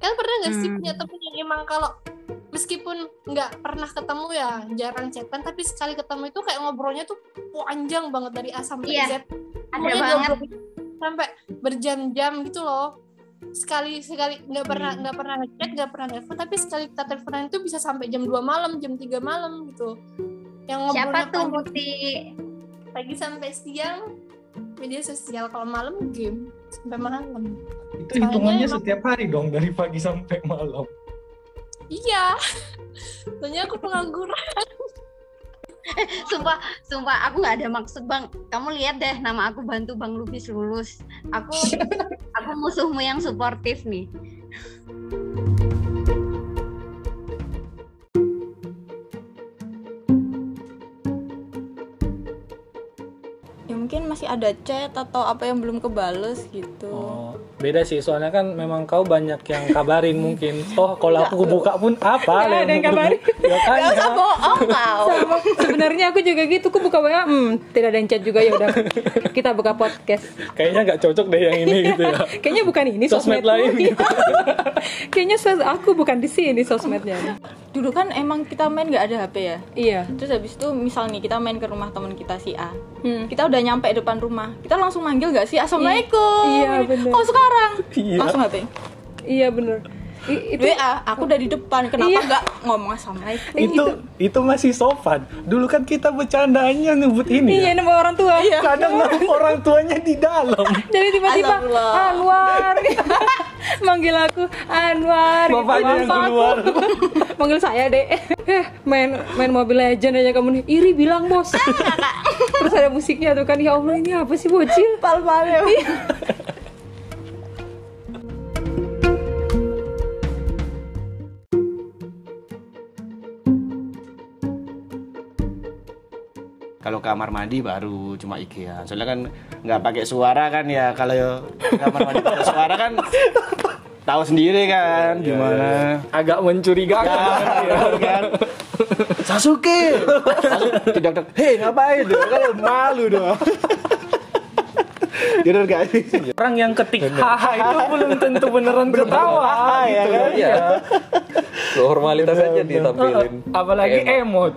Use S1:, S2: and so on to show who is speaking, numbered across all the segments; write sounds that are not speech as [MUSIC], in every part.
S1: Kalian Kan pernah nggak sih
S2: Hmm.
S1: punya temen yang emang kalau meskipun nggak pernah ketemu ya jarang chatan tapi sekali ketemu itu kayak ngobrolnya tuh panjang banget dari A sampai
S3: Iya,
S1: Z.
S3: ada
S1: Pokoknya
S3: banget.
S1: ngobrol sampai berjam-jam gitu loh. Sekali sekali nggak
S3: Hmm.
S1: pernah nggak pernah ngechat nggak pernah telepon tapi sekali kita teleponan itu bisa sampai jam 2 malam jam 3 malam gitu. Yang
S3: Siapa
S1: ngobrolnya
S3: tuh
S1: panjang
S3: Bukti?
S1: pagi sampai siang media sosial kalau malam game sampai malam
S4: Itu
S1: Soalnya
S4: hitungannya
S1: emang-
S4: setiap hari dong dari pagi sampai malam.
S1: iya [LAUGHS] soalnya aku pengangguran
S3: Sumpah, sumpah aku nggak ada maksud bang. Kamu lihat deh nama aku bantu bang Lubis lulus. [LAUGHS] Aku, aku musuhmu yang suportif nih.
S5: ya mungkin masih ada chat atau apa yang belum kebales gitu
S6: Oh, beda sih soalnya kan memang kau banyak yang kabarin mungkin. Oh, kalau aku buka pun apa?
S2: Nggak ada yang kabarin.
S6: [LAUGHS] Ya kan,
S5: Gak usah
S6: ya.
S5: bohong kau
S2: Sama, sebenarnya aku juga gitu, aku buka WA, hmm, tidak ada yang chat juga ya udah. Kita buka podcast.
S6: Kayaknya nggak cocok deh yang ini gitu [LAUGHS]
S2: [LAUGHS]
S6: ya.
S2: Kayaknya bukan ini
S6: Sosmed
S2: sosmed, [LAUGHS]
S6: lain
S2: lagi.
S6: gitu.
S2: Kayaknya sos- aku bukan di sini sosmednya.
S5: Dulu kan emang kita main gak ada HP ya
S2: Iya.
S5: Terus habis itu misal nih kita main ke rumah teman kita si A
S2: Hmm.
S5: Kita udah nyampe depan rumah Kita langsung manggil gak sih? Assalamualaikum
S2: Iya, bener.
S5: Kok sekarang?
S6: Iya.
S5: Langsung HP
S2: Iya bener. I- itu
S5: WA, aku udah di depan Kenapa
S2: Iya.
S5: nggak ngomong Assalamualaikum?
S2: gitu.
S6: itu itu masih sopan. Dulu kan kita bercandaannya nyebut ini.
S2: Iya,
S6: ya.
S2: nama orang tua. [LAUGHS]
S6: Kadang orang tuanya di dalam.
S2: Jadi tiba-tiba
S5: Astagfirullah.
S2: Anwar [LAUGHS] manggil aku Anwar. gitu.
S6: Bapaknya yang
S2: Bapak aku.
S6: keluar.
S2: [LAUGHS] manggil saya deh. Eh, main main Mobile Legend aja kamu nih. Iri bilang
S6: [LAUGHS]
S2: bos. Terus ada musiknya tuh kan. Ya Allah ini apa sih bocil?
S5: Pal-pal ya.
S7: Kalau kamar mandi baru cuma IKEA. Soalnya kan nggak pakai suara kan ya kalau kamar mandi pakai suara kan tahu sendiri
S8: Iya,
S7: kan gimana.
S6: Agak mencurigakan.
S7: kan. Sasuke, Sasuke tidak tidak. Hei ngapain? Dia Kan malu dong. Gitu kan, Bener gak sih?
S6: [LAUGHS] Orang yang ketik haha itu belum tentu beneran ketawa
S7: ya
S6: gitu.
S7: kan?
S6: Iya.
S8: Lo formalitas aja ditampilin.
S6: Apalagi emot.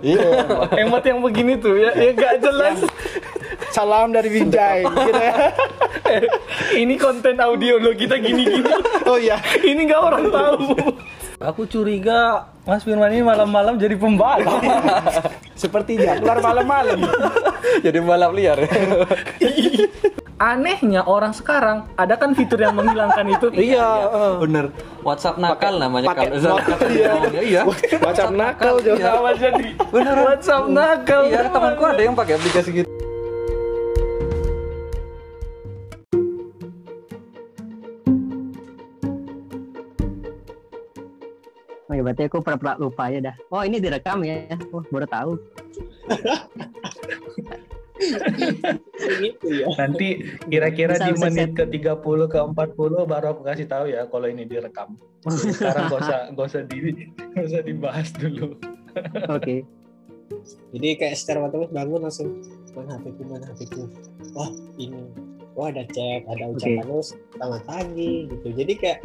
S6: Emot yang begini tuh ya, ya gak jelas.
S7: Salam dari Binjai. gitu ya.
S6: [LAUGHS] Ini konten audio lo kita gini-gini. [LAUGHS]
S7: Oh iya.
S6: Ini nggak orang tahu. Aku curiga Mas Firman ini malam-malam jadi pembalap.
S7: Sepertinya keluar malam-malam.
S8: Jadi balap liar.
S6: Anehnya orang sekarang ada kan fitur yang menghilangkan [LAUGHS] itu.
S8: Iya, bener. WhatsApp nakal namanya
S7: pakai
S8: kalau salah.
S7: WhatsApp, iya.
S8: Iya.
S7: Macam nakal
S8: Iya.
S7: juga.
S6: Awal Kan jadi
S8: Beneran.
S6: WhatsApp nakal.
S8: Iya, temanku ada yang pakai aplikasi gitu.
S9: Oh ya berarti aku pernah lupa ya dah. Oh ini direkam ya. Wah baru tahu.
S4: Nanti kira-kira
S9: Bisa,
S4: di
S9: bisa,
S4: menit ke 30 ke 40 baru aku kasih tahu ya kalau ini direkam. Sekarang gak usah gak usah di gak usah dibahas dulu.
S9: Oke.
S10: Jadi kayak secara otomatis bangun langsung mana HP ku, mana HP ku. Wah ini, wah ada chat, ada ucapan terus selamat pagi gitu. Jadi kayak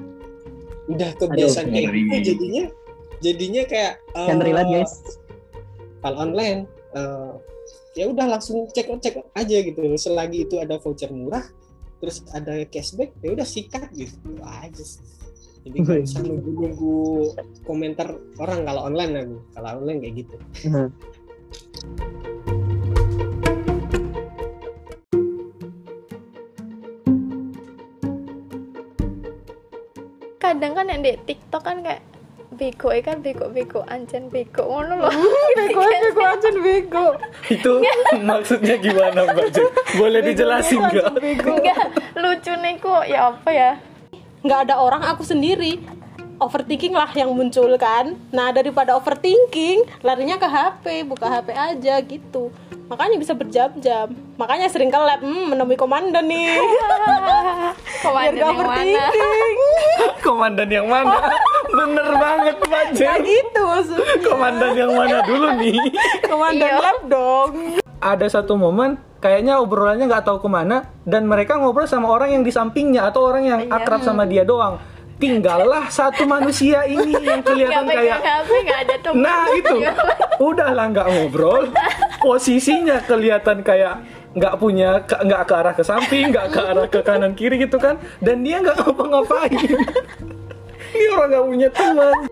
S10: udah kebiasaan
S9: Aduh,
S10: kayak
S4: ngeri.
S10: gitu jadinya jadinya kayak
S9: Can
S10: eh,
S9: relate, guys.
S10: Kalau online eh, ya udah langsung cek cek aja gitu. Selagi itu ada voucher murah, terus ada cashback, ya udah sikat gitu aja. sih. Jadi nggak usah nunggu-nunggu komentar orang kalau online aku. Kalau online kayak gitu.
S11: kadang kan yang di TikTok kan kayak bego eh kan bego bego anjen bego ngono [LAUGHS]
S12: Hmm,
S11: loh
S2: Bego, bego anjir bego.
S6: Itu maksudnya gimana Mbak Jen? Boleh dijelasin nggak?
S11: [LAUGHS] enggak lucu nih kok ya apa ya
S12: nggak ada orang aku sendiri overthinking lah yang muncul kan nah daripada overthinking larinya ke HP buka HP aja gitu makanya bisa berjam-jam makanya sering ke lab hmm, menemui komandan nih
S11: [LAUGHS]
S12: biar gak
S3: Komandan yang mana?
S12: overthinking
S6: Komandan yang mana? Bener banget Mbak
S12: ya
S6: Jen.
S12: gitu maksudnya
S6: Komandan yang mana dulu nih?
S12: komandan lab dong
S6: ada satu momen kayaknya obrolannya nggak tahu kemana dan mereka ngobrol sama orang yang di sampingnya atau orang yang akrab sama dia doang tinggallah satu manusia ini
S5: Iya,
S6: yang kelihatan
S11: Nggak
S6: kayak
S11: pegang HP, nggak ada teman.
S6: Nah itu, udahlah nggak ngobrol. Posisinya kelihatan kayak nggak punya ke- nggak ke arah ke samping, nggak ke arah ke kanan kiri gitu kan. Dan dia nggak ngapa-ngapain. Ini orang nggak punya teman.